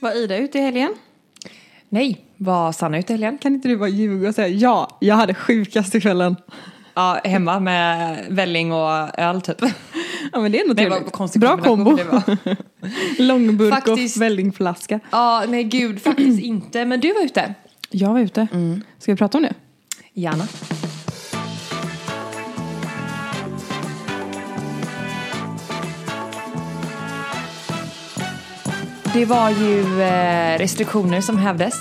Var Ida ute i helgen? Nej, var Sanna ute i helgen? Kan inte du bara ljuga och säga ja, jag hade sjukaste kvällen. Ja, hemma med välling och öl typ. Ja men det är nog Nej, vad trevligt. konstig Bra kombination kombo. det var. Långburk Faktiskt. och vällingflaska. Ja, nej gud faktiskt inte. Men du var ute. Jag var ute. Mm. Ska vi prata om det? Gärna. Det var ju eh, restriktioner som hävdes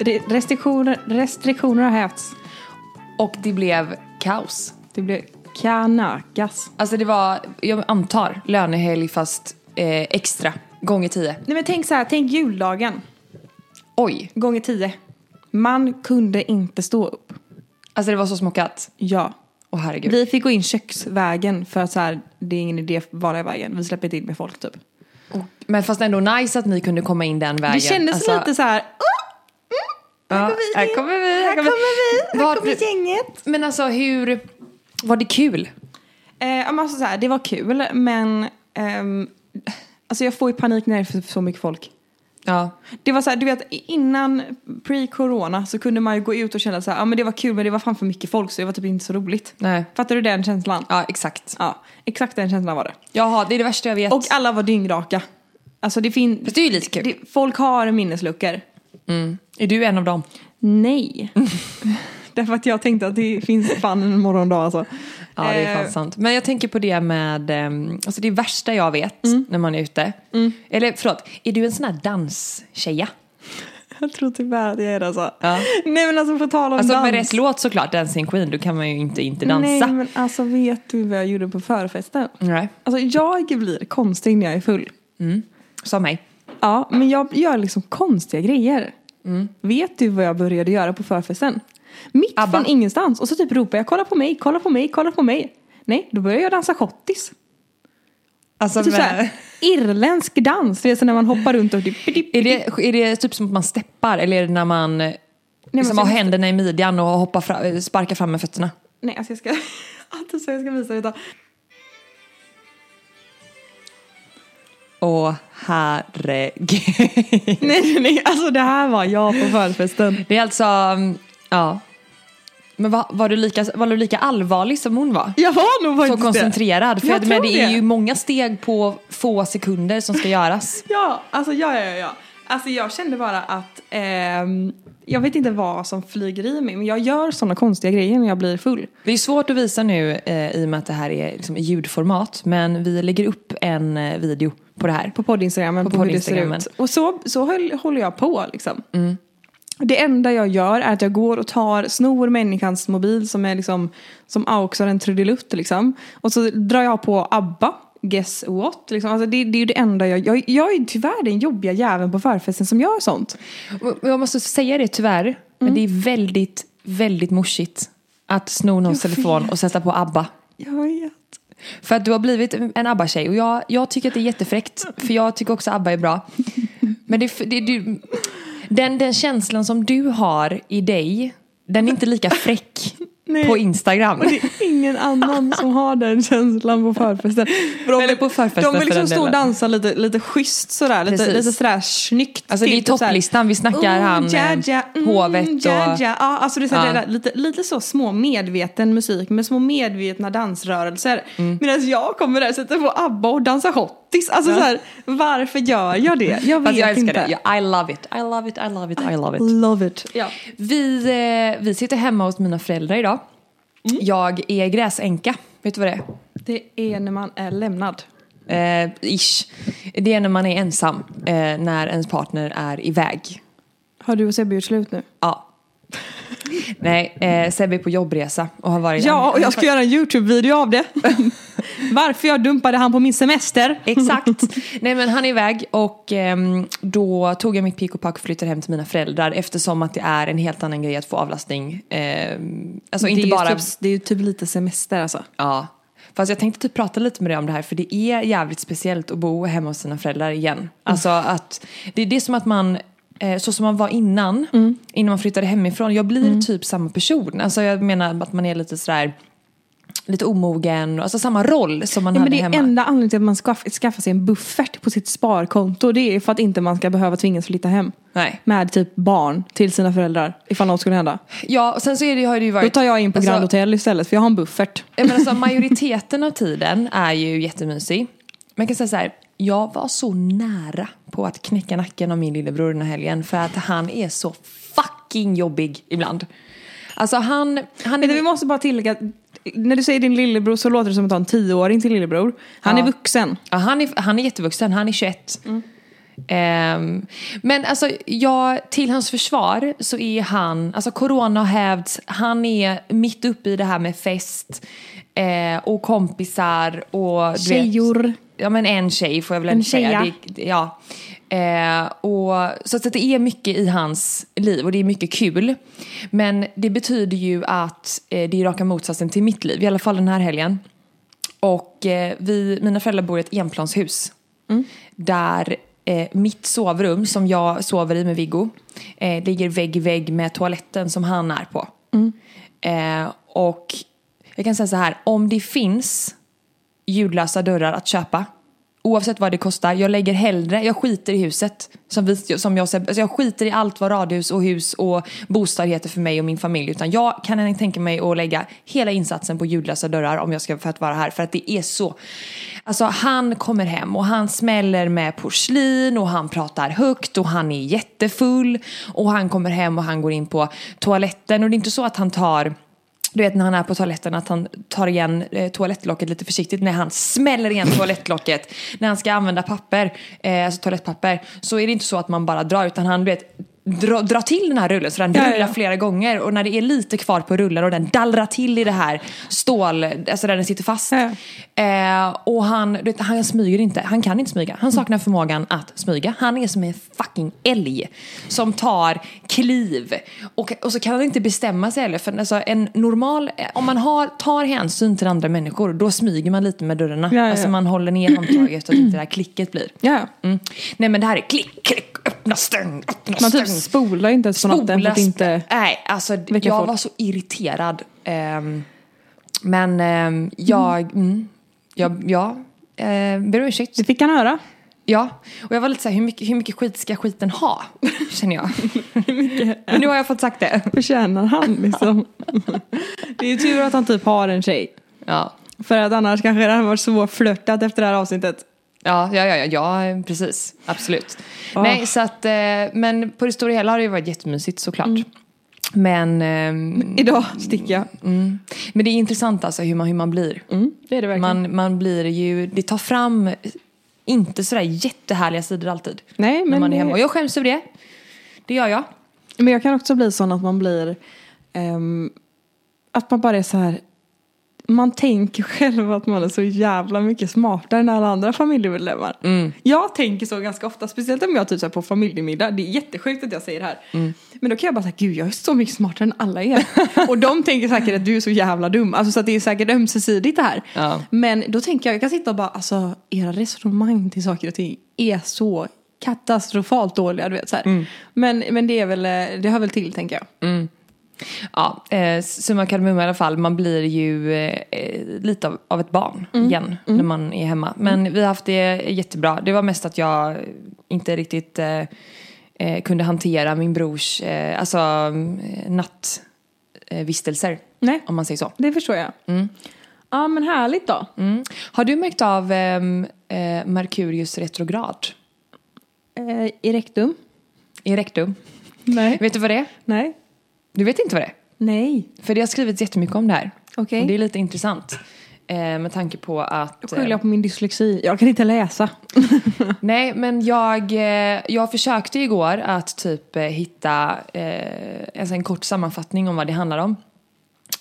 Re- Restriktioner, restriktioner har hävts. och det blev kaos. Det blev kanakas. Alltså det var, jag antar, lönehelg fast eh, extra gånger tio. Nej men tänk så här, tänk juldagen Oj, gånger tio. Man kunde inte stå upp. alltså det var så smockat. Ja. Åh herregud. Vi fick gå in köksvägen för att så här, det är ingen idé vanliga vägen. Vi släpper inte in med folk typ. Men fast ändå nice att ni kunde komma in den vägen. Det kändes Alltså, lite så här, mm, ja, här kommer vi Här in. kommer vi. här kommer vi, här Var kommer du- gänget. Men alltså hur, var det kul? Eh, ja, men alltså så här, det var kul men ehm, alltså jag får ju panik när det är för- för så mycket folk. Ja. Det var så här, du vet innan pre-corona så kunde man ju gå ut och känna så här, ja men det var kul men det var fan för mycket folk så det var typ inte så roligt. Nej. Fattar du den känslan? Ja, exakt. Ja, exakt den känslan var det. Jaha, det är det värsta jag vet. Och alla var dyngraka. Alltså det finns... Fast det är ju lite kul. det- Folk har minnesluckor. Är du en av dem? Nej. Därför att jag tänkte att det finns fan en morgondag alltså. Ja, det är Eh, fan sant. Men jag tänker på det med, ehm, alltså det värsta jag vet när man är ute. Eller förlåt, är du en sån här danstjeja? Jag tror tyvärr att jag är det alltså. Ja. Nej men alltså på tal om Alltså dans. med rätt låt såklart, Dancing Queen, då kan man ju inte inte dansa. Nej men alltså vet du vad jag gjorde på förfesten? Nej. Alltså jag blir konstig när jag är full. Som mig. Ja, men jag gör liksom konstiga grejer. Vet du vad jag började göra på förfesten? Mitt Abba. från ingenstans. Och så typ ropar jag kolla på mig, kolla på mig, kolla på mig. Nej, då börjar jag dansa schottis. Alltså, Typ såhär irländsk dans. Det är så när man hoppar runt och... typ- Dip, dip, dip. är, det, är det typ som att man steppar eller är det när man eh, men liksom så- har händerna i midjan och hoppar fra, eh, sparkar fram med fötterna? Nej, alltså jag ska... Alltid så jag ska visa detta. Åh herregud. Nej, nej, nej. Alltså det här var jag på förfesten. Det är alltså, mm, ja. Men var, var, du lika, var du lika allvarlig som hon var? Jag var nog Så faktiskt koncentrerad? För Jag jag men tror det är det. ju många steg på få sekunder som ska göras. Ja, alltså ja, ja, ja. Alltså jag kände bara att ehm, jag vet inte vad som flyger i mig men jag gör sådana konstiga grejer när jag blir full. Det är svårt att visa nu eh, i och med att det här är liksom, i ljudformat men vi lägger upp en eh, video på det här. På poddinstagrammen, på, På hur det ser poddinstagrammen. ut. Och så, så höll, håller jag på liksom. Det enda jag gör är att jag går och tar, snor människans mobil som är liksom som auxar en trudelutt liksom. Och så drar jag på ABBA. Guess what? Liksom. Alltså det, det är ju det enda jag Jag, jag är tyvärr den jobbiga jäveln på förfesten som gör sånt. Och Jag måste säga det tyvärr, Mm. men det är väldigt, väldigt morsigt att sno någons Jag vet. telefon och sätta på ABBA. Jag vet. För att du har blivit en ABBA-tjej och jag, jag tycker att det är jättefräckt för jag tycker också ABBA är bra. Men det, det, du, den, den känslan som du har i dig, den är inte lika fräck Nej. på Instagram. Och det är ingen annan som har den känslan på förfesten. För Eller på förfesten De vill för den liksom stå och delen. dansa lite, lite schysst sådär. Lite, Precis. lite sådär snyggt. Alltså det är till, typ såhär, topplistan, vi snackar "Oh, han ja, eh, ja, mm, hovet och... ja, ja. Ja, alltså det är såhär, Ja. det där, lite, lite så små medveten musik med små medvetna dansrörelser. Mm. Medan jag kommer där och sätter på ABBA och dansar hottis. Alltså såhär, varför gör jag det? Jag vet Fast jag älskar inte. det, Ja, I love it, I love it, I love it, I love it. Love it. Ja. Vi, eh, vi sitter hemma hos mina föräldrar idag. Mm. Jag är gräsänka, vet du vad det Det är när man är lämnad. är? Eh, ish. Det är när man är ensam, eh, när ens partner är iväg. Har du och Sebbe gjort slut nu? Ja. Nej, eh, Sebbe är på jobbresa och har varit... Ja, och jag ska göra en YouTube-video av det. Varför jag dumpade han på min semester. Exakt. Nej men han är iväg och ehm, då tog jag mitt pick och pack och flyttade hem till mina föräldrar eftersom att det är en helt annan grej att få avlastning. Ehm, alltså det, är inte ju bara... typ, det är ju typ lite semester alltså. Ja. Fast jag tänkte typ prata lite med dig om det här för det är jävligt speciellt att bo hemma hos sina föräldrar Mm. igen. Alltså att det, det är som att man, eh, så som man var innan, Mm. innan man flyttade hemifrån. Jag blir typ samma person. Alltså jag menar att man är lite sådär lite omogen, alltså samma roll som man Ja, men hade det är hemma. enda anledningen till att man skaffar, skaffar sig en buffert på sitt sparkonto. Det är för att inte man ska behöva tvingas flytta hem. Nej. Med typ barn till sina föräldrar. Ifall något skulle hända. Ja, och sen så är det, har det ju Då varit... tar jag in på Alltså- Grand Hotel istället för jag har en buffert. Jag menar, så majoriteten av tiden är ju jättemysig. Man kan säga så här, jag var så nära på att knäcka nacken av min lillebror den här helgen för att han är så fucking jobbig ibland. Alltså han... han Men vi måste bara tillägga att när du säger din lillebror så låter det som att ha en tioåring till lillebror. Han Ja. är vuxen. Ja, han, är, han är jättevuxen, han är 21. Ehm, men alltså, jag, till hans försvar så är han, alltså corona har hävts, han är mitt uppe i det här med fest eh, och kompisar och du vet- Tjejor. ja men en tjej får jag väl ändå En tjeja. säga. Det, ja. Eh, och, så att det är mycket i hans liv och det är mycket kul. Men det betyder ju att eh, det är raka motsatsen till mitt liv, i alla fall den här helgen. Och eh, vi, mina föräldrar bor i ett enplanshus. Där eh, mitt sovrum, som jag sover i med Viggo, eh, ligger vägg i vägg med toaletten som han är på. Eh, och jag kan säga så här, om det finns ljudlösa dörrar att köpa. Oavsett vad det kostar. Jag lägger hellre, jag skiter i huset. Som, vi, som jag, alltså jag skiter i allt vad radhus och hus och bostad heter för mig och min familj. Utan jag kan tänka mig att lägga hela insatsen på ljudlösa dörrar om jag ska för att vara här. För att det är så. Alltså han kommer hem och han smäller med porslin och han pratar högt och han är jättefull. Och han kommer hem och han går in på toaletten. Och det är inte så att han tar du vet när han är på toaletten att han tar igen eh, toalettlocket lite försiktigt. När han smäller igen toalettlocket. När han ska använda papper, eh, alltså toalettpapper. Så är det inte så att man bara drar utan han du vet dra, drar till den här rullen så den Ja, ja, ja. rullar flera gånger. Och när det är lite kvar på rullen och den dallrar till i det här stål, alltså där den sitter fast. Ja, Eh, och han, du vet, han smyger inte, han kan inte smyga. Han saknar förmågan att smyga. Han är som en fucking älg som tar kliv. Och, och så kan han inte bestämma sig heller. För alltså, en normal, eh, om man har, tar hänsyn till andra människor då smyger man lite med dörrarna. Ja, ja, Alltså ja. man håller ner handtaget så att inte det här klicket blir. Ja. Mm. Nej men det här är klick, klick, öppna stäng, öppna Man stäng. typ spolar ju inte ens på natten för att Spolas- inte... Nej, alltså jag folk. var så irriterad. Ehm, men ehm, jag, mm, jag, ja, eh, ber om ursäkt. Det fick han höra. Ja, och jag var lite så här, hur mycket, hur mycket skit ska skiten ha? Känner jag. men nu har jag fått sagt det. Förtjänar han liksom. det är ju tur att han typ har en tjej. Ja, För att annars kanske det hade varit svårflörtat efter det här avsnittet. ja, ja, ja, ja, ja precis. Absolut. Ah. Nej, så att, eh, men på det stora hela har det ju varit jättemysigt såklart. Mm. Men, ehm, Idag sticker jag. mm. men det är intressant alltså hur man, hur man blir. Det är det verkligen. Man, man blir ju, det tar fram inte sådär jättehärliga sidor alltid. Nej, när men, man är hemma. Och jag skäms över det. Det gör jag. men jag kan också bli sån att man blir... ehm, att man bara är så här... Man tänker själv att man är så jävla mycket smartare än alla andra familjemedlemmar. Jag tänker så ganska ofta, speciellt om jag typ så här på familjemiddag. Det är jättesjukt att jag säger det här. Men då kan jag bara säga, gud jag är så mycket smartare än alla er. Och de tänker säkert att du är så jävla dum. Alltså så att det är säkert ömsesidigt det här. Ja. Men då tänker jag, jag kan sitta och bara, alltså era resonemang till saker och ting är så katastrofalt dåliga, du vet så här. Men, men det är väl, eh, det hör väl till tänker jag. Ja, eh, summa kardemumma i alla fall. Man blir ju eh, eh, lite av, av ett barn Mm. igen när man är hemma. Men vi har haft det jättebra. Det var mest att jag inte riktigt eh, eh, kunde hantera min brors eh, alltså, nattvistelser. Nej, Om man säger så. det förstår jag. Ja men härligt då. Mm. Har du märkt av ehm, eh, Merkurius retrograd Eh, I rektum? i rektum? Nej. Vet du vad det är? Nej. Du vet inte vad det är? Nej. För det har skrivits jättemycket om det här. Okej. Och det är lite intressant. Eh, med tanke på att... eh, Jag skyller på min dyslexi, jag kan inte läsa. Nej, men jag, eh, jag försökte igår att typ eh, hitta eh, alltså en kort sammanfattning om vad det handlar om.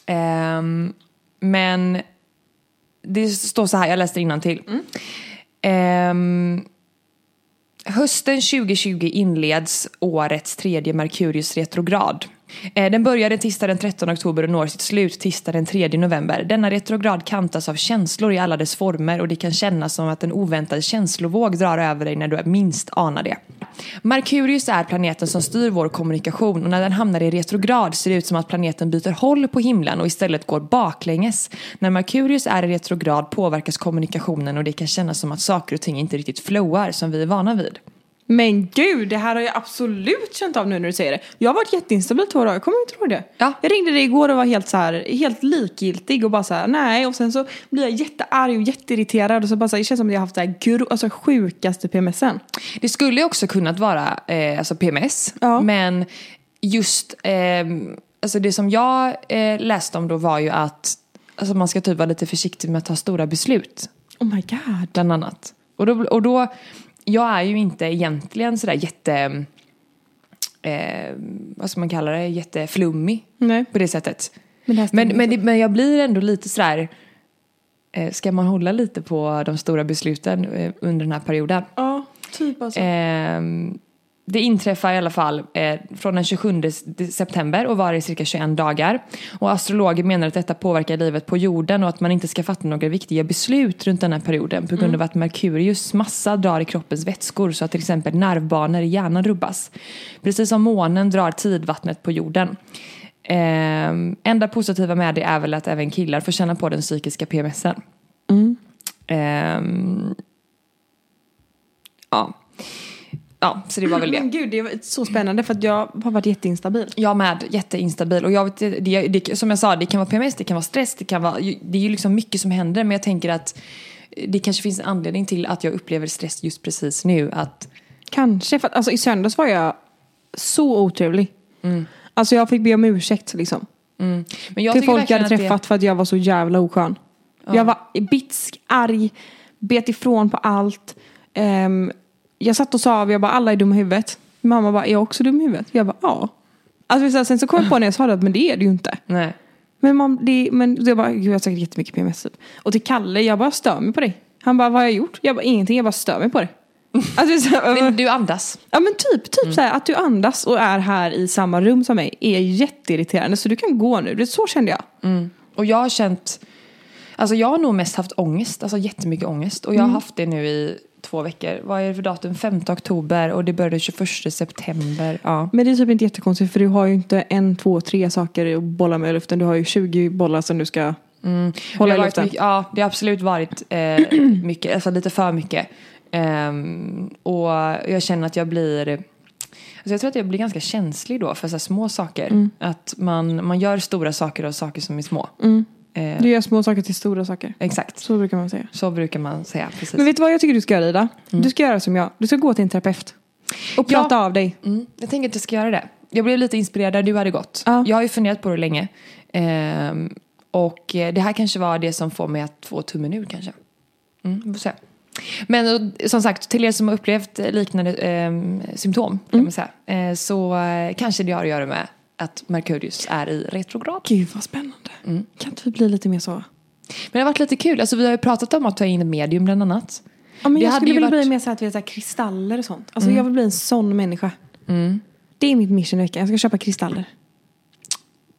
Ehm, men det står så här, jag läste innantill. Ehm, Hösten 2020 inleds årets tredje Merkurius retrograd. Eh, Den började tisdag den 13 oktober och når sitt slut tisdag den 3 november. Denna retrograd kantas av känslor i alla dess former och det kan kännas som att en oväntad känslovåg drar över dig när du minst anar det. Merkurius är planeten som styr vår kommunikation och när den hamnar i retrograd ser det ut som att planeten byter håll på himlen och istället går baklänges. När Merkurius är i retrograd påverkas kommunikationen och det kan kännas som att saker och ting inte riktigt flowar som vi är vana vid. Men gud, det här har jag absolut känt av nu när du säger det. Jag har varit jätteinstabil två dagar, jag kommer inte ihåg det. Ja. Jag ringde dig igår och var helt så här, helt likgiltig och bara så här, nej. Och sen så blir jag jättearg och jätteirriterad och så bara så här, det känns som att jag har haft det här gro- alltså sjukaste PMSen. Det skulle ju också kunnat vara eh, alltså PMS, Ja. men just ehm, alltså det som jag eh, läste om då var ju att alltså man ska typ vara lite försiktig med att ta stora beslut, Oh my god. bland annat. Och då, och då jag är ju inte egentligen sådär jätte, eh, vad ska man kalla det, jätteflummig Nej. på det sättet. Men det här stämmer men, men, det, men jag blir ändå lite sådär, eh, ska man hålla lite på de stora besluten eh, under den här perioden? Ja, typ alltså. Ehm, det inträffar i alla fall eh, från den 27 de- september och varar i cirka 21 dagar. Och astrologer menar att detta påverkar livet på jorden och att man inte ska fatta några viktiga beslut runt den här perioden på grund av att Merkurius massa drar i kroppens vätskor så att till exempel nervbanor i hjärnan rubbas. Precis som månen drar tidvattnet på jorden. Ehm, enda positiva med det är väl att även killar får känna på den psykiska PMSen. Ehm, ja. ja, så det var väl det. Men gud, det är så spännande för att jag har varit jätteinstabil. Jag med, jätteinstabil. Och jag vet, det, det, det, som jag sa, det kan vara PMS, det kan vara stress, det kan vara... Det är ju liksom mycket som händer men jag tänker att det kanske finns en anledning till att jag upplever stress just precis nu. Att, Kanske, för att alltså, i söndags var jag så otrevlig. Alltså jag fick be om ursäkt liksom. men Mm. jag till tycker folk jag verkligen hade att det- träffat för att jag var så jävla oskön. Jag var bitsk, arg, bet ifrån på allt. Ehm, jag satt och sa, jag bara alla är dumma i huvudet. Mamma bara, är jag också dum i huvudet? Jag bara, ja. Alltså, så här, sen så kom jag på när jag sa det att men det är det ju inte. Nej. Men, man, det, men jag bara, gud jag har säkert jättemycket PMS typ. Och till Kalle, jag bara stör mig på dig. Han bara, vad har jag gjort? Jag bara, ingenting, jag bara stör mig på dig. Alltså, så här, Men Mm. du andas. Ja men typ, typ så här, att du andas och är här i samma rum som mig är jätteirriterande så du kan gå nu. Det, så kände jag. Och jag har känt... Alltså jag har nog mest haft ångest, alltså jättemycket ångest. Och jag Mm. har haft det nu i två veckor. Vad är det för datum? 5 oktober och det började 21 september. Ja. Men det är typ inte jättekonstigt för du har ju inte en, två, tre saker att bolla med i luften. Du har ju 20 bollar som du ska hålla i det Mm. har varit luften. mycket, ja, det har absolut varit eh, mycket, alltså lite för mycket. Ehm, och jag känner att jag blir, alltså jag tror att jag blir ganska känslig då för så här små saker. Mm. Att man, man gör stora saker av saker som är små. Eh, Du gör små saker till stora saker. exakt, Så brukar man säga. så brukar man säga precis. Mm. Men vet du vad jag tycker du ska göra Ida? Du ska göra som jag. Du ska gå till en terapeut. Och Ja. prata av dig. Mm, jag tänker att jag ska göra det. Jag blev lite inspirerad när du hade gått. Ja. Jag har ju funderat på det länge. Ehm, och eh, det här kanske var det som får mig att få tummen ur kanske. Mm, vi får se. Men och, som sagt, till er som har upplevt eh, liknande ehm, symptom kan man säga, eh, så eh, kanske det har att göra med att Merkurius är i retrograd. Gud vad spännande. Mm. Kan inte vi bli lite mer så? Men det har varit lite kul. Alltså, vi har ju pratat om att ta in ett medium bland annat. Ja, men Det jag hade skulle ju vilja varit- Mm. bli mer så här att vi har så här kristaller och sånt. Alltså jag vill bli en sån människa. Det är mitt mission i veckan. Jag ska köpa kristaller.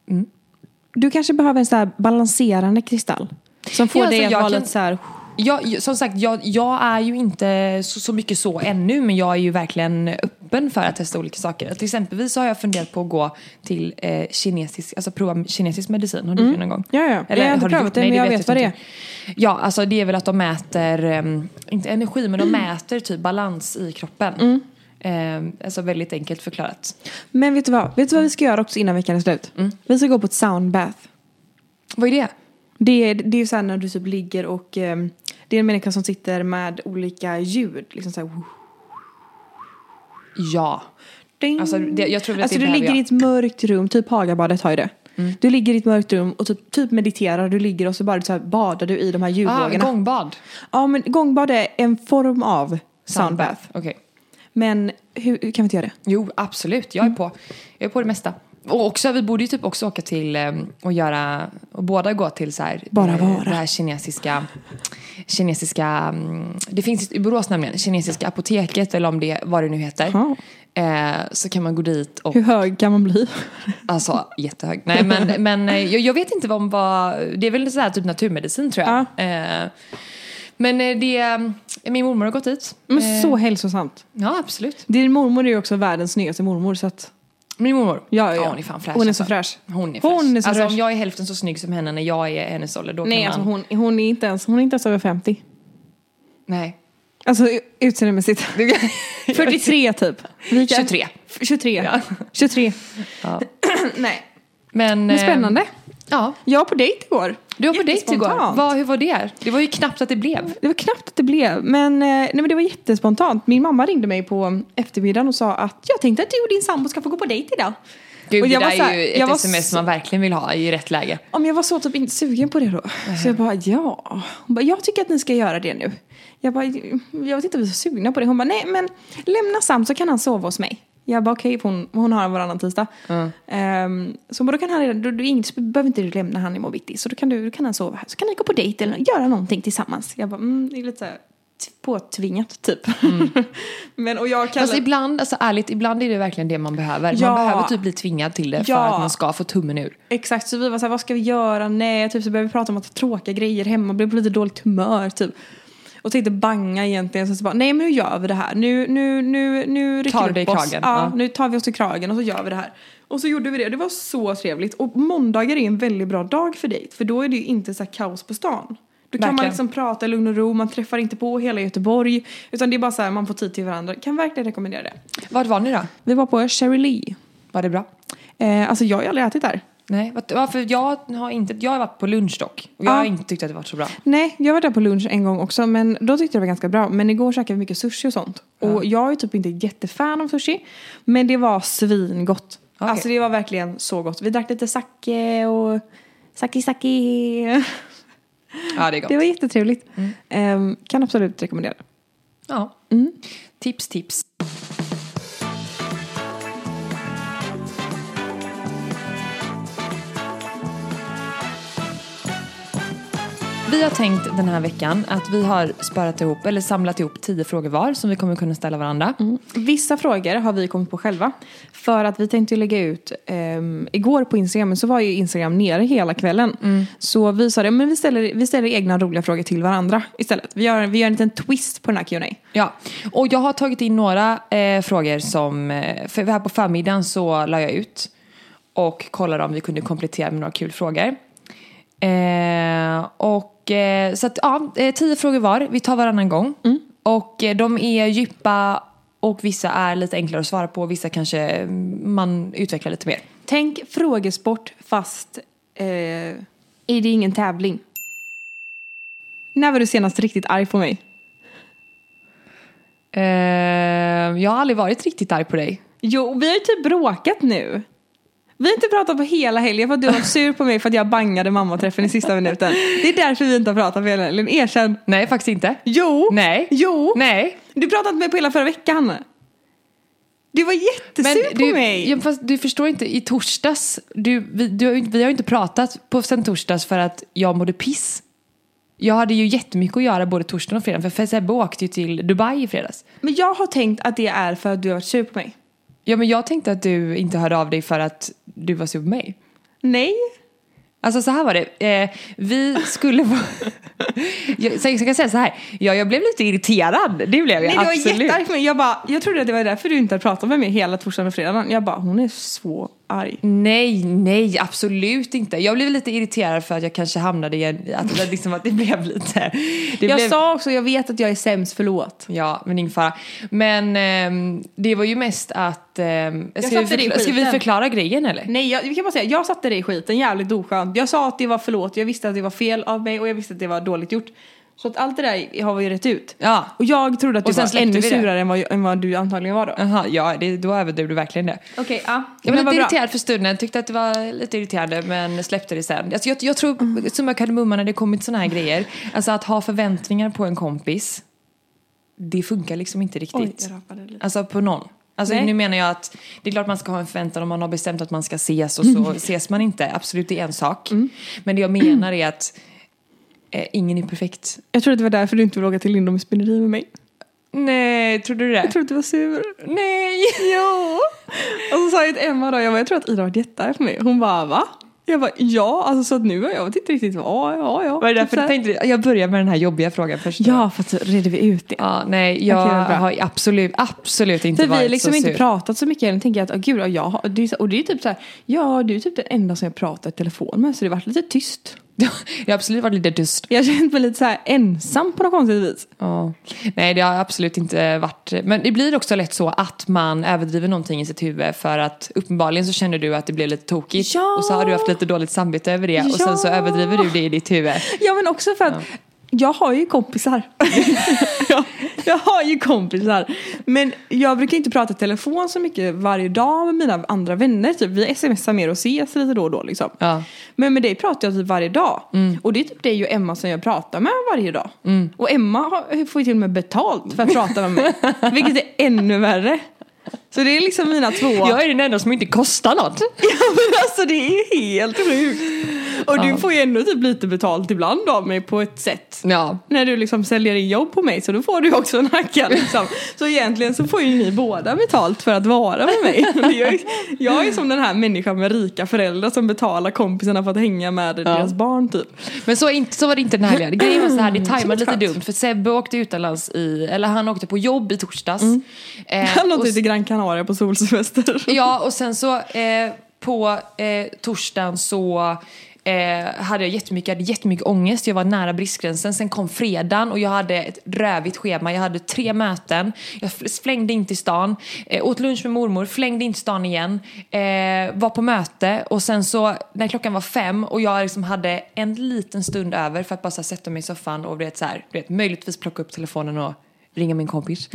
Mm. Du kanske behöver en så här balanserande kristall. Som får Ja, alltså, dig att jag vara kan- lite så här... Jag, som sagt, jag, jag är ju inte så, så mycket så ännu men jag är ju verkligen öppen för att testa olika saker. Till exempelvis så har jag funderat på att gå till eh, kinesisk, alltså prova kinesisk medicin. Har du gjort det någon gång? Ja, ja. Mm. Jag har inte du gjort- provat det, Nej, men jag vet vad det inte. Ja, alltså det är väl att de mäter, ehm, inte energi men de Mm. mäter typ balans i kroppen. Ehm, alltså väldigt enkelt förklarat. Men vet du vad? Vet du vad vi ska göra också innan veckan är slut? Mm. Vi ska gå på ett soundbath. Vad är det? Det är, det är ju så här när du typ ligger och ehm, det är en människa som sitter med olika ljud. Liksom så här, Ja. Ah, Ding. Alltså, det- jag tror att det alltså, du behöver ligger i jag. ett mörkt rum, typ Hagabadet har ju det. Mm. Du ligger i ett mörkt rum och typ, typ mediterar, du ligger och så bara så här, badar du i de här Ah, ljudvågorna. gångbad. Ja men gångbad är en form av soundbath. Okej. Men hur, hur kan vi inte göra det? Jo, absolut. Mm. Jag är på. Jag är på det mesta. Och också, vi borde ju typ också åka till eh, och göra, och båda gå till så här, Bara eh, vara. det här kinesiska, kinesiska, mm, det finns i Borås nämligen, kinesiska apoteket eller om det, vad det nu heter. Ja. Eh, så kan man gå dit och, Hur hög kan man bli? alltså jättehög. Nej men, men eh, jag, jag vet inte vad, vad, det är väl så här typ naturmedicin tror jag. Eh, Men eh, det, eh, min mormor har gått hit. Men Eh, så hälsosamt. Ja, absolut. Din mormor är ju också världens snyggaste mormor så att, Min mormor. ja, ja, Ja, ja. hon är fan fräsch. Hon är alltså. så fräsch. Hon är fräsch. Hon är så alltså fräsch. om jag är hälften så snygg som henne när jag är hennes ålder, då Nej, kan alltså man... hon, hon, är inte ens, hon är inte ens över 50. Nej. Alltså u- utseendemässigt. 43 typ. Vi kan- 23. F- 23. 23. Ja. Nej. Men, Men eh, spännande. Ja, Jag var på dejt igår. du var på dejt igår. Jättespontant. Vad, hur var det? Det var ju knappt att det blev. Det var knappt att det blev, men, eh, nej, men det var jättespontant. Min mamma ringde mig på eftermiddagen och sa att jag tänkte att du och din sambo ska få gå på dejt idag. Gud, Och jag det var där så här- är ju jag ett var sms så- man verkligen vill ha i rätt läge. Om jag var så typ inte sugen på det då. Så jag bara ja. Hon bara, jag tycker att ni ska göra det nu. Jag bara, jag vet inte om vi är så sugna på det. Hon bara, nej men lämna Sam så kan han sova hos mig. Jag bara okej, för hon, hon har varannan tisdag. Ehm, så hon bara, då kan han redan, du, du, inget- behöver inte du lämna han i morgon bitti. Så då kan, du, då kan han sova här. Så kan ni gå på dejt eller göra någonting tillsammans. Jag bara, mm, det är lite så här t- påtvingat typ. men och jag kallar... Fast ibland, alltså ärligt, ibland är det verkligen det man behöver. Ja. Man behöver typ bli tvingad till det för Ja. att man ska få tummen ur. Exakt, så vi var så här, vad ska vi göra? Nej, typ så började vi prata om att tråkiga grejer hemma, blev på lite dåligt humör typ. Och tänkte banga egentligen, så, så bara, nej men nu gör vi det här. Nu, nu, nu, nu rycker Tar vi det i upp oss. kragen, Ja, ja. nu tar vi oss i kragen och så gör vi det här. Och så gjorde vi det, det var så trevligt. Och måndagar är en väldigt bra dag för dig, för då är det ju inte så här kaos på stan. Då kan man Verkligen. liksom prata i lugn och ro, man träffar inte på hela Göteborg. Utan det är bara så här, man får tid till varandra. Kan verkligen rekommendera det. Vart var ni då? Vi var på Cherry Lee. Var det bra? Eh, alltså jag har ju aldrig ätit där. Nej, vad- ja, för jag har, inte, jag har varit på lunch dock. Och jag Ja. har inte tyckt att det varit så bra. Nej, jag var där på lunch en gång också men då tyckte jag det var ganska bra. Men igår käkade vi mycket sushi och sånt. Och jag är typ inte jättefan av sushi. Men det var svingott. Okej. Alltså det var verkligen så gott. Vi drack lite sake och sake sake. Ja, det är gott. Mm. Det var jättetrevligt. Ehm, kan absolut rekommendera. det. Ja. Tips, tips. Vi har tänkt den här veckan att vi har sparat ihop, eller samlat ihop tio frågor var som vi kommer kunna ställa varandra. Vissa frågor har vi kommit på själva. För att vi tänkte ju lägga ut, ehm, igår på Instagram, men så var ju Instagram nere hela kvällen. Så vi sa det, men vi ställer, vi ställer egna roliga frågor till varandra istället. Vi gör, vi gör en liten twist på den här Q&A. Ja, och jag har tagit in några eh, frågor som, eh, för här på förmiddagen så la jag ut och kollade om vi kunde komplettera med några kul frågor. Eh, och eh, så att ja, eh, tio frågor var, vi tar varannan gång. Mm. Och eh, de är djupa och vissa är lite enklare att svara på, vissa kanske eh, man utvecklar lite mer. Tänk frågesport fast eh, är det ingen tävling. När var du senast riktigt arg på mig? Eh, jag har aldrig varit riktigt arg på dig. Jo, vi har ju typ bråkat nu. Vi har inte pratat på hela helgen för att du var sur på mig för att jag bangade mammaträffen i sista minuten. Det är därför vi inte har pratat på hela helgen. Erkänn. Nej, faktiskt inte. Jo. Nej. Jo. Nej. Du pratade inte med på hela förra veckan. Du var jättesur på du, mig. Ja, fast du förstår inte, i torsdags, du, vi, du, har ju inte- vi har ju inte pratat på, sen torsdags för att jag mådde piss. Jag hade ju jättemycket att göra både torsdagen och fredagen för Sebbe åkte ju till Dubai i fredags. Men jag har tänkt att det är för att du har varit sur på mig. Ja men jag tänkte att du inte hörde av dig för att du var sur på mig. Nej. Alltså så här var det, eh, vi skulle vara... jag, så jag kan säga så här, ja, jag blev lite irriterad, det blev jag Nej, du var absolut. jättearg på mig. Jag, bara, jag trodde att det var därför du inte hade pratat med mig hela torsdagen och fredagen. Jag bara, hon är så arg. Nej, nej, absolut inte. Jag blev lite irriterad för att jag kanske hamnade i en, att, det liksom, att det blev lite... Det jag blev, sa också, jag vet att jag är sämst, förlåt. Ja, men ingen fara. Men ehm, det var ju mest att... ehm, ska, vi satte dig i förkla- ska vi skiten. förklara grejen eller? Nej, jag, vi kan bara säga, jag satte dig i skiten jävligt oskönt. Jag sa att det var förlåt, jag visste att det var fel av mig och jag visste att det var dåligt gjort. Så att allt det där har vi ju rätt ut. Ja. Och jag trodde att Och du sen var släppte vi ännu det. surare än vad, än vad du antagligen var då. Aha, ja, det, då överdrev du verkligen det. Okej, ja. Jag Men var vad lite bra. irriterad för stunden, tyckte att det var lite irriterande men släppte det sen. Alltså, jag, jag tror, summa kardemumma när det kommit såna här grejer, alltså att ha förväntningar på en kompis, det funkar liksom inte riktigt. Oj, jag rappade lite. Alltså på någon. Alltså Nej. nu menar jag att det är klart man ska ha en förväntan om man har bestämt att man ska ses och Mm. så ses man inte. Absolut, det är en sak. Men det jag menar är att eh, ingen är perfekt. Jag trodde att det var därför du inte ville åka till Lindholms spinneri med mig. Nej, trodde du det? Jag trodde att du var sur. Nej! Jo! Och så sa jag till Emma då, jag, bara, jag tror att Ida har varit jättearg på mig. Hon bara va? Jag bara, ja, alltså så att nu har jag vet inte riktigt vad, ja, ja. Var det Typ så därför här. du tänkte, jag börjar med den här jobbiga frågan först. Ja, för att så redde vi ut det. Ja, nej, jag Okej, vad bra. har absolut, absolut inte För vi varit har liksom så inte sur. pratat så mycket än. Tänker jag att, oh, gud, ja, jag har, det är, så- och det är typ så här, ja du är typ den enda som jag pratar i telefon med. Så det har varit lite tyst. jag har absolut varit lite dyst. Jag har känt mig lite så här ensam på något konstigt vis. Ja. Nej, det har absolut inte varit... Men det blir också lätt så att man överdriver någonting i sitt huvud för att uppenbarligen så känner du att det blev lite tokigt Ja. och så har du haft lite dåligt samvete över det och Ja. sen så överdriver du det i ditt huvud. Ja men också för att jag har ju kompisar. jag, jag har ju kompisar. Men jag brukar inte prata i telefon så mycket varje dag med mina andra vänner. Typ, vi smsar mer och ses lite då och då liksom. Ja. Men med dig pratar jag typ varje dag. Och det är typ dig och Emma som jag pratar med varje dag. Och Emma har, får ju till och med betalt för att prata med mig. vilket är ännu värre. Så det är liksom mina två. Jag är den enda som inte kostar något. Ja men alltså det är helt sjukt. Och Ja. du får ju ändå typ lite betalt ibland av mig på ett sätt. Ja. När du liksom säljer in jobb på mig så då får du också en hacka liksom. Så egentligen så får ju ni båda betalt för att vara med mig. Det är ju- Jag är som den här människan med rika föräldrar som betalar kompisarna för att hänga med deras barn typ. Men så, är inte, så var det inte den här helgen. Grejen var så här, det tajmade lite Mm. skönt. dumt för Sebbe åkte utomlands i, eller han åkte på jobb i torsdags. Eh, Mm. Han och åkte till Gran Canaria på solsemester. Ja, och sen så eh, på eh, torsdagen så eh, hade jag jättemycket, jag hade jättemycket ångest. Jag var nära bristgränsen. Sen kom fredagen och jag hade ett rövigt schema. Jag hade tre möten. Jag fl- flängde in till stan. Eh, åt lunch med mormor, flängde in till stan igen. Eh, var på möte och sen så när klockan var fem och jag liksom hade en liten stund över för att bara så här, sätta mig i soffan och du vet, så här, du vet, möjligtvis plocka upp telefonen och ringa min kompis.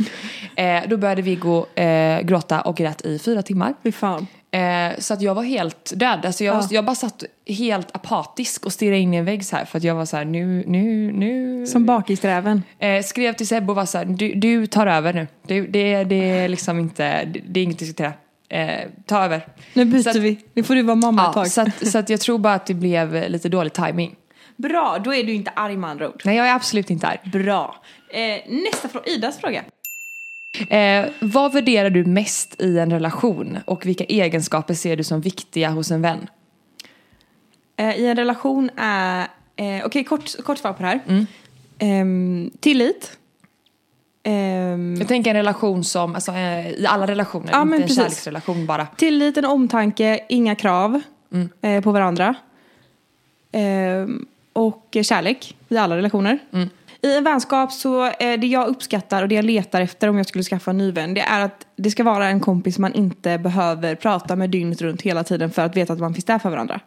Eh, då började Viggo eh, gråta och grät i fyra timmar. Fy fan. Eh, så att jag var helt död. Alltså jag, Ja. jag bara satt helt apatisk och stirrade in i en vägg så här för att jag var så här nu, nu, nu. Som bakisräven. Eh, skrev till Sebbe och var så här, du, du tar över nu. Du, det, det är liksom inte, det, det är inget att diskutera. Eh, ta över. Nu byter Så att- vi. Nu får du vara mamma ett Ja, tag. så att, så att jag tror bara att det blev eh, lite dålig timing. Bra, då är du inte arg med andra ord. Nej jag är absolut inte arg. Bra. Eh, nästa fråga, Idas fråga. Eh, vad värderar du mest i en relation och vilka egenskaper ser du som viktiga hos en vän? Eh, I en relation är... Eh, Okej, kort, kort svar på det här. Mm. Ehm, tillit. Ehm, Jag tänker en relation som, alltså eh, i alla relationer, Ja, inte men en precis. kärleksrelation bara. tillit, en omtanke, inga krav Mm. eh, på varandra. Ehm, och kärlek i alla relationer. Mm. I en vänskap så, eh, det jag uppskattar och det jag letar efter om jag skulle skaffa en ny vän, det är att det ska vara en kompis man inte behöver prata med dygnet runt hela tiden för att veta att man finns där för varandra.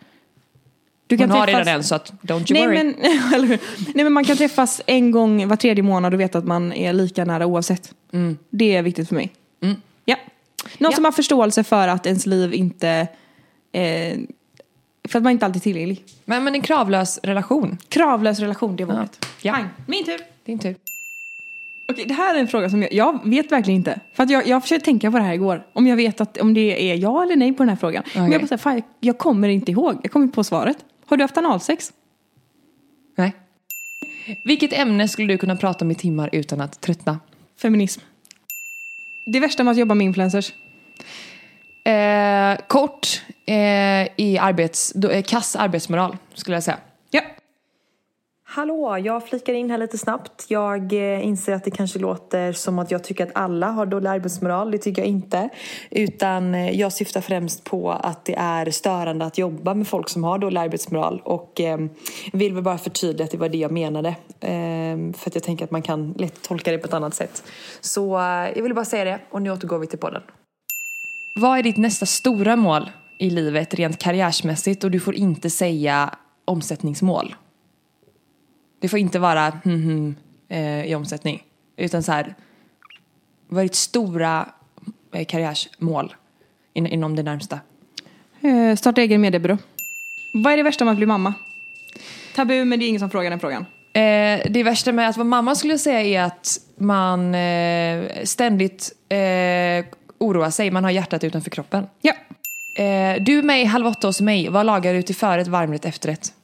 Du Hon har redan en så att don't Nej you worry. men, eller hur? nej men man kan träffas en gång var tredje månad och veta att man är lika nära oavsett. Mm. Det är viktigt för mig. Ja. Någon Ja. som har förståelse för att ens liv inte... Eh, för att man inte alltid är tillgänglig. Men, men en kravlös relation. Kravlös relation, det var Ja. ordet. Ja. Pang, min tur. Din tur. Okej, det här är en fråga som jag, jag vet verkligen inte. För att jag, jag försökte tänka på det här igår. Om jag vet att, om det är ja eller nej på den här frågan. Men Okej. jag bara, så här, fan, jag, jag kommer inte ihåg. Jag kommer inte på svaret. Har du haft analsex? Nej. Vilket ämne skulle du kunna prata om i timmar utan att tröttna? Feminism. Det värsta med att jobba med influencers. Eh, kort eh, i arbets, då, eh, kass arbetsmoral skulle jag säga. Ja. Hallå, jag flikar in här lite snabbt. Jag eh, inser att det kanske låter som att jag tycker att alla har dålig arbetsmoral. Det tycker jag inte. Utan eh, jag syftar främst på att det är störande att jobba med folk som har dålig arbetsmoral. Och eh, vill väl bara förtydliga att det var det jag menade. Eh, för att jag tänker att man kan lätt tolka det på ett annat sätt. Så eh, jag ville bara säga det och nu återgår vi till podden. Vad är ditt nästa stora mål i livet rent karriärsmässigt och du får inte säga omsättningsmål? Det får inte vara hmm, hmm, eh, i omsättning. Utan så här, vad är ditt stora eh, karriärsmål in, inom det närmsta? Eh, starta egen mediebyrå. Vad är det värsta med att bli mamma? Tabu, men det är ingen som frågar den frågan. Eh, det värsta med att vara mamma skulle jag säga är att man eh, ständigt eh, oroar sig. Man har hjärtat utanför kroppen. Ja. Eh, du är med i Halv åtta hos mig. Vad lagar du till förrätt, varmrätt, efterrätt?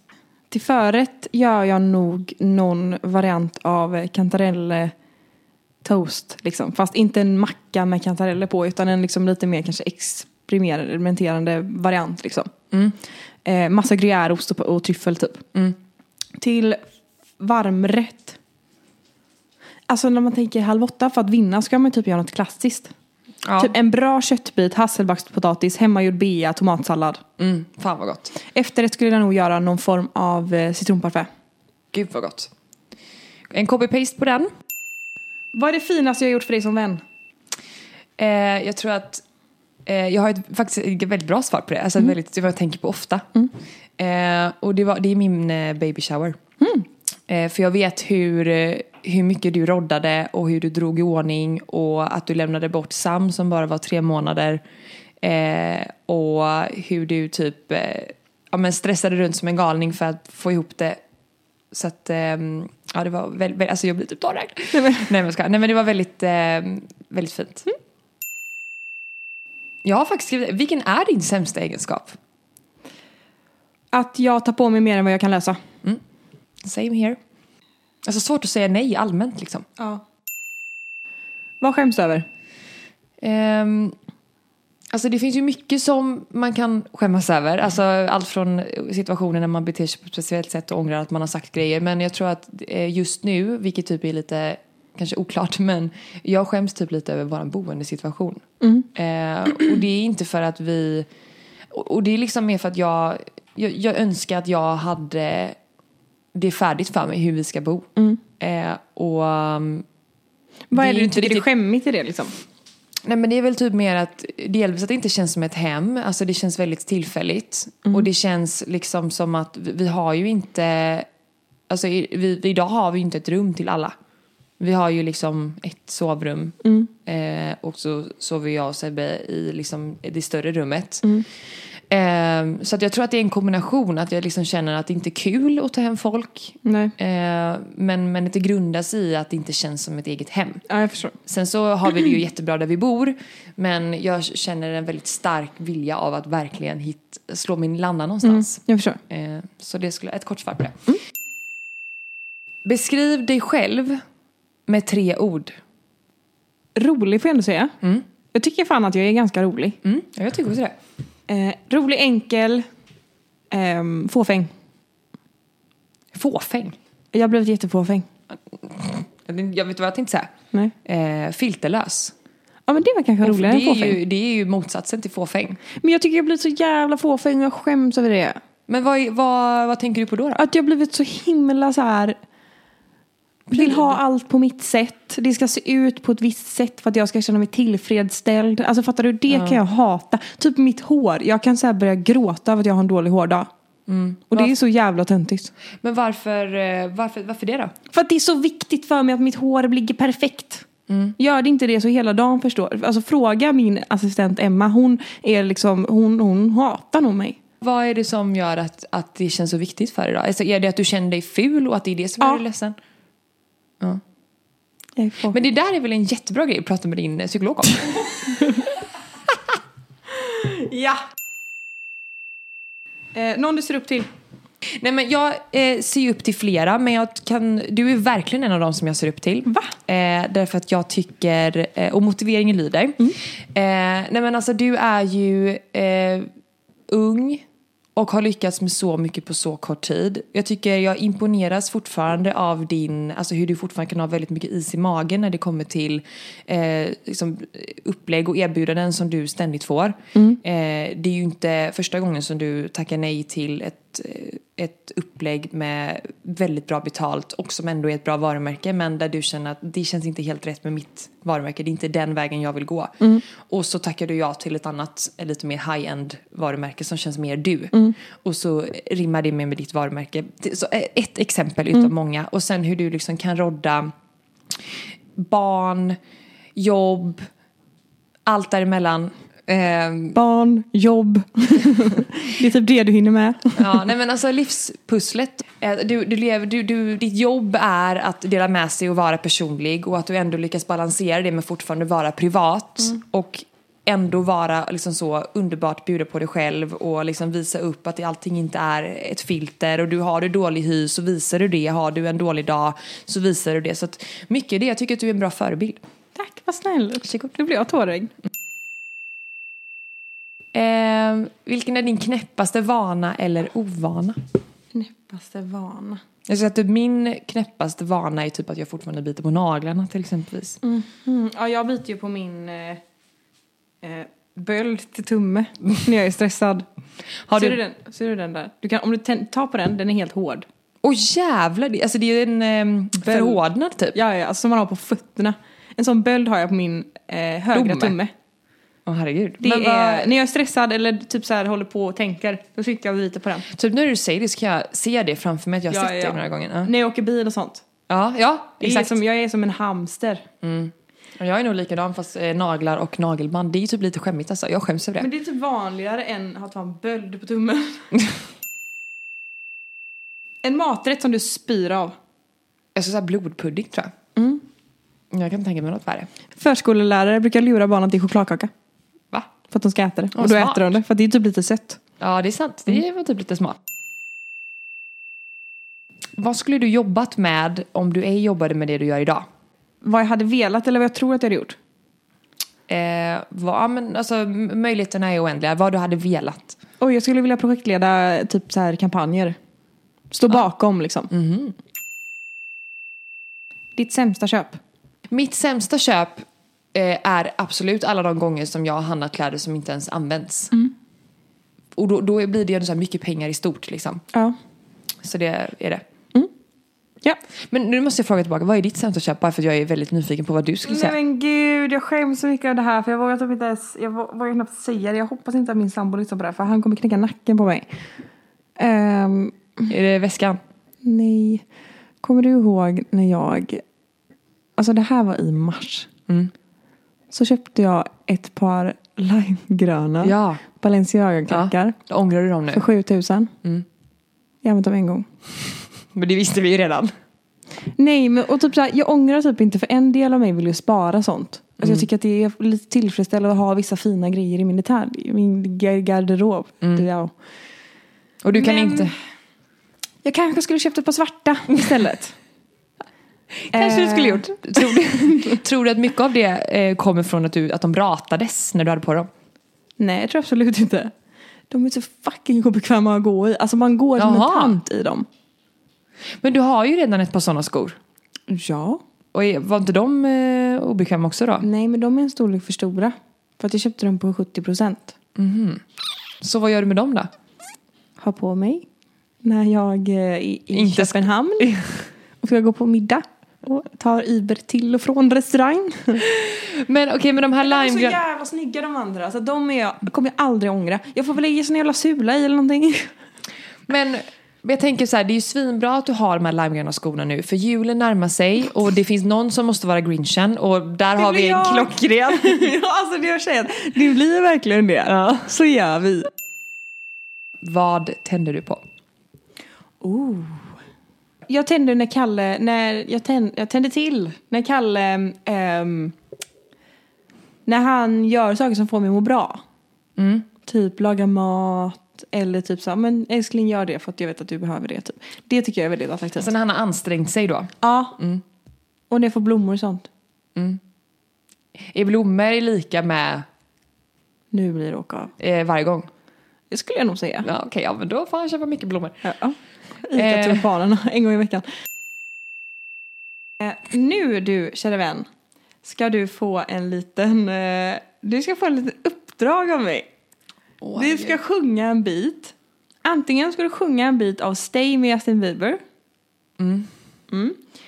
Till förrätt gör jag nog någon variant av eh, kantarelltoast. Liksom. Fast inte en macka med kantareller på utan en liksom lite mer kanske experimenterande variant. Liksom. eh, massa gruyèreost och, och tryffel typ. Till varmrätt. Alltså när man tänker halv åtta för att vinna ska man typ göra något klassiskt. Ja. Typ en bra köttbit, hasselbackspotatis, hemmagjord bea, tomatsallad. Mm, fan vad gott. Efterrätt skulle jag nog göra någon form av eh, citronparfait. Gud vad gott. En copy-paste på den. Vad är det finaste jag gjort för dig som vän? Eh, jag tror att eh, jag har ett, faktiskt ett väldigt bra svar på det. Alltså ett väldigt, det är vad jag tänker på ofta. Eh, och det, var, det är min eh, baby shower. Eh, för jag vet hur, eh, hur mycket du roddade och hur du drog i ordning och att du lämnade bort Sam som bara var tre månader. Eh, och hur du typ eh, ja, men stressade runt som en galning för att få ihop det. Så att, ehm, ja det var väldigt, alltså jag blir typ tårögd. Nej men jag skojar. Nej men det var väldigt, ehm, väldigt fint. Jag har faktiskt skrivit, vilken är din sämsta egenskap? Att jag tar på mig mer än vad jag kan lösa. Same here. Alltså svårt att säga nej allmänt liksom. Ja. Vad skäms du över? Ehm, alltså det finns ju mycket som man kan skämmas över. Alltså allt från situationer när man beter sig på ett speciellt sätt och ångrar att man har sagt grejer. Men jag tror att eh, just nu, vilket typ är lite kanske oklart, men jag skäms typ lite över vår boendesituation. Mm. Eh, och det är inte för att vi... Och och det är liksom mer för att jag, jag, jag önskar att jag hade det färdigt för mig hur vi ska bo. Eh, och... ehm, Mm. Vad är Det är det du inte tycker är riktigt- skämmigt i det liksom? Nej men det är väl typ mer att delvis att det inte känns som ett hem, alltså det känns väldigt tillfälligt. Och det känns liksom som att vi, vi har ju inte, alltså i, vi, idag har vi ju inte ett rum till alla. Vi har ju liksom ett sovrum eh, och så sover jag och Sebbe i liksom det större rummet. Eh, så att jag tror att det är en kombination, att jag liksom känner att det inte är kul att ta hem folk. Nej. Eh, men, men att det grundas i att det inte känns som ett eget hem. Ja, jag förstår. Sen så har vi det ju jättebra där vi bor men jag känner en väldigt stark vilja av att verkligen hit, slå min landa någonstans. Jag förstår. Eh, så det skulle, ett kort svar på det. Beskriv dig själv med tre ord. Rolig får jag ändå säga. Jag tycker fan att jag är ganska rolig. Mm. Ja, jag tycker också det. Eh, rolig, enkel, ehm, fåfäng. Fåfäng. Jag har blivit jättefåfäng. Jag vet vad jag tänkte Nej. säga. Eh, filterlös. Ja men det var kanske Det roligare än är, fåfäng. ju, det är ju motsatsen till fåfäng. Men jag tycker jag har blivit så jävla fåfäng och jag skäms över det. Men vad, är- vad, vad tänker du på då? då? Att jag har blivit så himla så här. Vill ha allt på mitt sätt. Det ska se ut på ett visst sätt för att jag ska känna mig tillfredsställd. Alltså fattar du? Det kan jag hata. Typ mitt hår. Jag kan så här börja gråta över att jag har en dålig hårdag. Och det är så jävla töntigt. Men varför, eh, varför, varför det då? För att det är så viktigt för mig att mitt hår ligger perfekt. Gör det inte det så hela dagen förstår. Alltså fråga min assistent Emma. Hon är liksom, hon, hon hatar nog mig. Vad är det som gör att, att det känns så viktigt för dig då? Alltså, är det att du känner dig ful och att det är det som Ja. gör dig ledsen? Jag är fåfäng. Men det där är väl en jättebra grej att prata med din eh, psykolog om? Ja! Eh, någon du ser upp till? Nej men jag eh, ser ju upp till flera men jag kan, du är verkligen en av dem som jag ser upp till. Va? Eh, därför att jag tycker, eh, och motiveringen lyder. Eh, nej men alltså du är ju eh, ung och har lyckats med så mycket på så kort tid. Jag tycker jag imponeras fortfarande av din, alltså hur du fortfarande kan ha väldigt mycket is i magen när det kommer till eh, liksom, upplägg och erbjudanden som du ständigt får. Eh, det är ju inte första gången som du tackar nej till ett, eh, ett upplägg med väldigt bra betalt och som ändå är ett bra varumärke men där du känner att det känns inte helt rätt med mitt varumärke, det är inte den vägen jag vill gå. Och så tackar du ja till ett annat eh, lite mer high-end varumärke som känns mer du. Och så rimmar det mer med ditt varumärke. Det- Så eh, ett exempel utav många och sen hur du liksom kan rodda barn, jobb, allt däremellan. Ehm, Barn, jobb. det är typ det du hinner med. Ja, nej men alltså livspusslet. Eh, Du, du lever, du, du, ditt jobb är att dela med sig och vara personlig och att du ändå lyckas balansera det men fortfarande vara privat och ändå vara liksom så underbart bjuda på dig själv och liksom visa upp att det- allting inte är ett filter och du har du dålig hy så visar du det, har du en dålig dag så visar du det. Så att mycket i det, jag tycker att du är en bra förebild. Tack, vad snäll. Nu blir jag tårögd. Eh, vilken är din knäppaste vana eller ovana? Knäppaste vana. Jag säger att typ min knäppaste vana är typ att jag fortfarande biter på naglarna till exempelvis. Mm. Ja, jag biter ju på min eh, eh, böld till tumme när jag är stressad. Har ser, du- du den, ser du den där? Du kan, om du tän- tar på den, den är helt hård. Åh jävlar, det- alltså det är en ehm, förhårdnad typ. Ja, ja, alltså som man har på fötterna. En sån böld har jag på min eh, högra Tumme. tumme. Åh herregud. Det Men vad- är, När jag är stressad eller typ så här håller på och tänker, då sitter jag och biter på den. Typ nu när du säger det så kan jag se det framför mig att jag har Ja, sett ja. det några gånger. Ja, När jag åker bil och sånt. ja, ja Det är exakt. som, jag är som en hamster. Och Jag är nog likadan fast eh, naglar och nagelband, det är ju typ lite skämmigt alltså. Jag skäms över det. Men det är typ vanligare än att ha en böld på tummen. en maträtt som du spyr av. Jag skulle säga blodpudding tror jag. Mm. Jag kan inte tänka mig något värre. Förskolelärare brukar lura barnen till chokladkaka Va? för att de ska äta det. Vad och då smart. äter de det för att det är typ lite sött. Ja, det är sant. Det Mm. var typ lite smart. Vad skulle du jobbat med om du ej jobbade med det du gör idag? Vad jag hade velat eller vad jag tror att jag hade gjort. Eh, vad, ja, men, alltså, m- möjligheterna är oändliga. Vad du hade velat. Oj, jag skulle vilja projektleda typ så här kampanjer. Stå bakom liksom. Ditt sämsta köp? Mitt sämsta köp eh, är absolut alla de gånger som jag har handlat kläder som inte ens används. Och då, då blir det ju ändå så här mycket pengar i stort liksom. Ja. Så det är det. ja. Men nu måste jag fråga tillbaka, vad är ditt sämsta köp? Bara för att jag är väldigt nyfiken på vad du skulle Nej säga. men gud, jag skäms så mycket av det här för jag vågar typ inte ens, jag vå- vågar knappt säga det. Jag hoppas inte att min sambo lyssnar på det här för han kommer knäcka nacken på mig. Ehm, Är det väskan? nej. Kommer du ihåg när jag, alltså det här var i mars. Så köpte jag ett par limegröna Ja. Balenciaga-klackar Då ångrar du dem nu? för 7000. Jag har använt dem en gång. Men det visste vi ju redan. Nej, men och typ så här, jag ångrar typ inte för en del av mig vill ju spara sånt. Alltså Jag tycker att det är lite tillfredsställande att ha vissa fina grejer i min, detalj, i min gar- garderob. Det där. Och du kan Men- inte... Jag kanske skulle köpt ett par svarta istället. Kanske du skulle Eh, gjort. Tror du, tror du att mycket av det eh, kommer från att, du, att de ratades när du hade på dem? Eh, Nej, jag tror absolut inte. De är så fucking obekväma att gå i. Alltså man går som en Jaha. tant i dem. Men du har ju redan ett par sådana skor. Ja. Och är, var inte de eh, obekväma också då? Nej, men de är en storlek för stora. För att jag köpte dem på 70 procent. Så vad gör du med dem då? ha på mig när jag eh, är i Inte sk- Köpenhamn och ska gå på middag och tar Uber till och från restaurang. Men okej, men de här De är så limegröna... jävla snygga de andra. Så de är jag, kommer jag aldrig ångra. Jag får väl lägga sån jävla sula i eller någonting. Men jag tänker så här, det är ju svinbra att du har de här limegröna skorna nu. För julen närmar sig och det finns någon som måste vara grinchen. Och där har blir vi en jag. klockren. ja, alltså det jag säger. Det blir verkligen det. Så gör vi. Vad tänder du på? Jag tände när Kalle, när jag, tänd, jag tände till när Kalle, ehm, när han gör saker som får mig att må bra. Mm. Typ laga mat eller typ så här, men älskling gör det för att jag vet att du behöver det. Typ. Det tycker jag är väldigt attraktivt. Sen när han har ansträngt sig då. ja. Och när jag får blommor och sånt. Är blommor lika med Nu blir det åka av. eh, varje gång? Det skulle jag nog säga. Ja, Okej, ja, men då får han köpa mycket blommor. Ja. Ica Eh. till barnen en gång i veckan. Eh, nu du, kära vän, ska du få en liten... Eh, du ska få en liten uppdrag av mig. Du ska sjunga en bit. Antingen ska du sjunga en bit av Stay med Justin Bieber. Mm.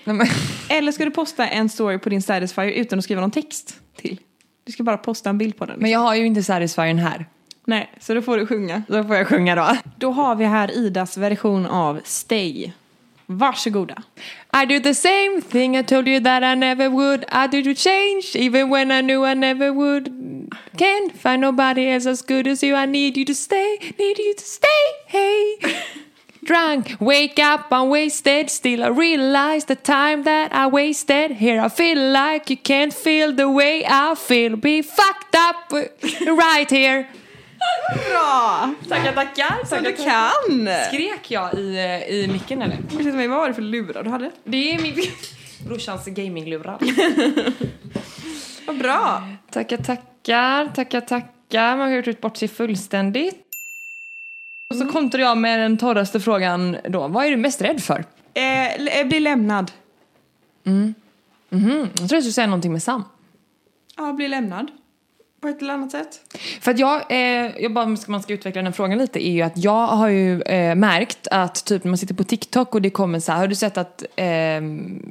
Nej, men, Eller ska du posta en story på din Satisfyer utan att skriva någon text till. Du ska bara posta en bild på den. liksom. men jag har ju inte Satisfyern här. Nej, så då får du sjunga. Då får jag sjunga då. Då har vi här Idas version av Stay. Varsågoda. I do the same thing I told you that I never would. I do to change even when I knew I never would. Can't find nobody else as good as you. I need you to stay, need you to stay. Hey. Drunk, wake up, I'm wasted. Still, I realize the time that I wasted. Here, I feel like you can't feel the way I feel. Be fucked up uh, right here. Bra! Tackar, tackar. Som du kan! Skrek jag i, eh, i micken eller? Precis mig, vad var det för lurar du hade? Det är min brorsans gaminglurar. Vad bra! Tackar, tackar, tackar, tackar. Man har gjort ut bort sig fullständigt. Och så kontrar jag med den torraste frågan då. Vad är du mest rädd för? Eh, l- eh, bli lämnad. Jag tror jag skulle säga någonting med Sam. Ja, bli lämnad. På ett eller annat sätt. För att jag, eh, jag bara om man ska utveckla den frågan lite, är ju att jag har ju eh, märkt att typ när man sitter på TikTok och det kommer så här, har du sett att eh,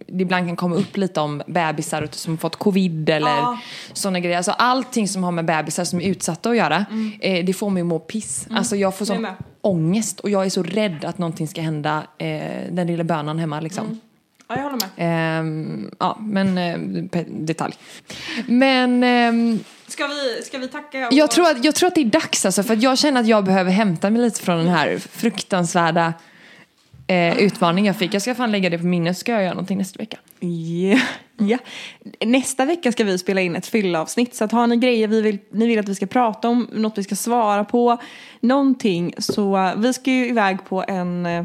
det ibland kan komma upp lite om bebisar och- som fått covid eller Ja. såna sådana grejer. Alltså allting som har med bebisar som är utsatta att göra, eh, det får mig att må piss. Alltså jag får Mm. Jag sån med. ångest och jag är så rädd att någonting ska hända eh, den lilla bönan hemma liksom. Mm. Ja, jag håller med. Ehm, ja, men eh, pe- detalj. Men ehm, Ska vi, ska vi tacka? och- jag tror, att, jag tror att det är dags alltså, för att jag känner att jag behöver hämta mig lite från den här fruktansvärda eh, utmaningen jag fick. Jag ska fan lägga det på minnet, ska jag göra någonting nästa vecka. Ja. ja. Nästa vecka ska vi spela in ett fyllavsnitt. Så att har ni grejer vi vill, ni vill att vi ska prata om, något vi ska svara på, någonting. Så eh, vi ska ju iväg på en... eh,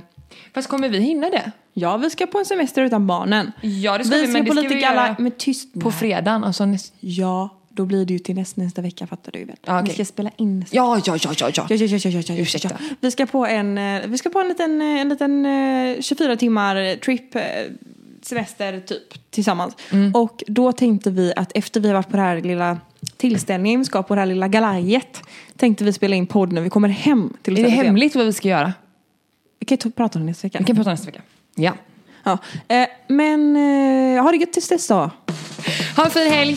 Fast kommer vi hinna det? Ja, vi ska på en semester utan barnen. Ja, det ska vi, vi men ska det på ska lite vi galla... göra Men tyst nu. På fredagen, alltså nästa... Ja, då blir det ju till näst, nästa vecka fattar du väl. Ja, okej. Vi ska spela in nästa Ja, ja, ja, ja, ja. Ja, ja, ja, ja, ja, ja, Ursäkta. ja. Vi ska på en, eh, vi ska på en liten, eh, en liten eh, 24 timmar trip eh, semester typ tillsammans. Mm. Och då tänkte vi att efter vi har varit på den här lilla tillställningen vi ska på det här lilla galajet tänkte vi spela in podd när vi kommer hem till Är det stället igen. hemligt vad vi ska göra? Vi kan ju ta- prata om det nästa vecka. Vi kan prata nästa vecka. Ja. Ja. Eh, men eh, ha det gött tills dess då. Ha en fin helg!